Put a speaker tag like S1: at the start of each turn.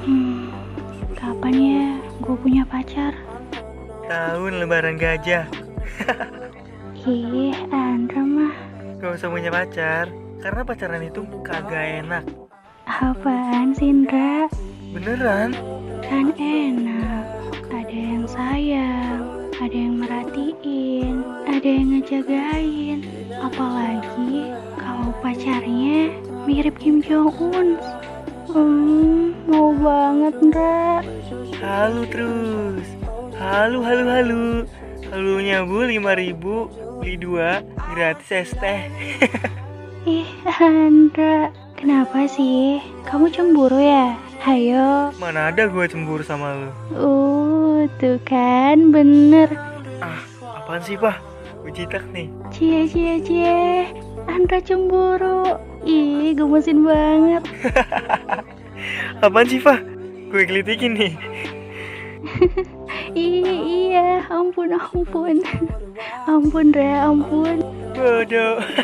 S1: Hmm, ya? punya pacar.
S2: Tahun lebaran gajah.
S1: Ih, Iya, Andra mah.
S2: Gak usah punya pacar. Karena pacaran itu kagak enak.
S1: Apaan sih, Indra?
S2: Beneran?
S1: Kan enak. Ada yang sayang, ada yang merhatiin, ada yang ngejagain. Apalagi kalau pacarnya mirip Kim Jong Un. Hmm, mau banget, Indra.
S2: Halo terus. Halo, halo, halo. Halunya bu 5000 beli dua gratis es teh.
S1: Ih, Andra, kenapa sih? Kamu cemburu ya? Hayo,
S2: Mana ada gue cemburu sama lu?
S1: uh, tuh kan bener.
S2: Ah, apaan sih pak? Gue jitak nih.
S1: Cie, cie, cie, Andra cemburu. Ih, gemesin banget.
S2: Apaan sih pak? Gue kelitikin nih.
S1: Ih, iya, ampun, ampun. ampun, Dra, ampun.
S2: Bodoh.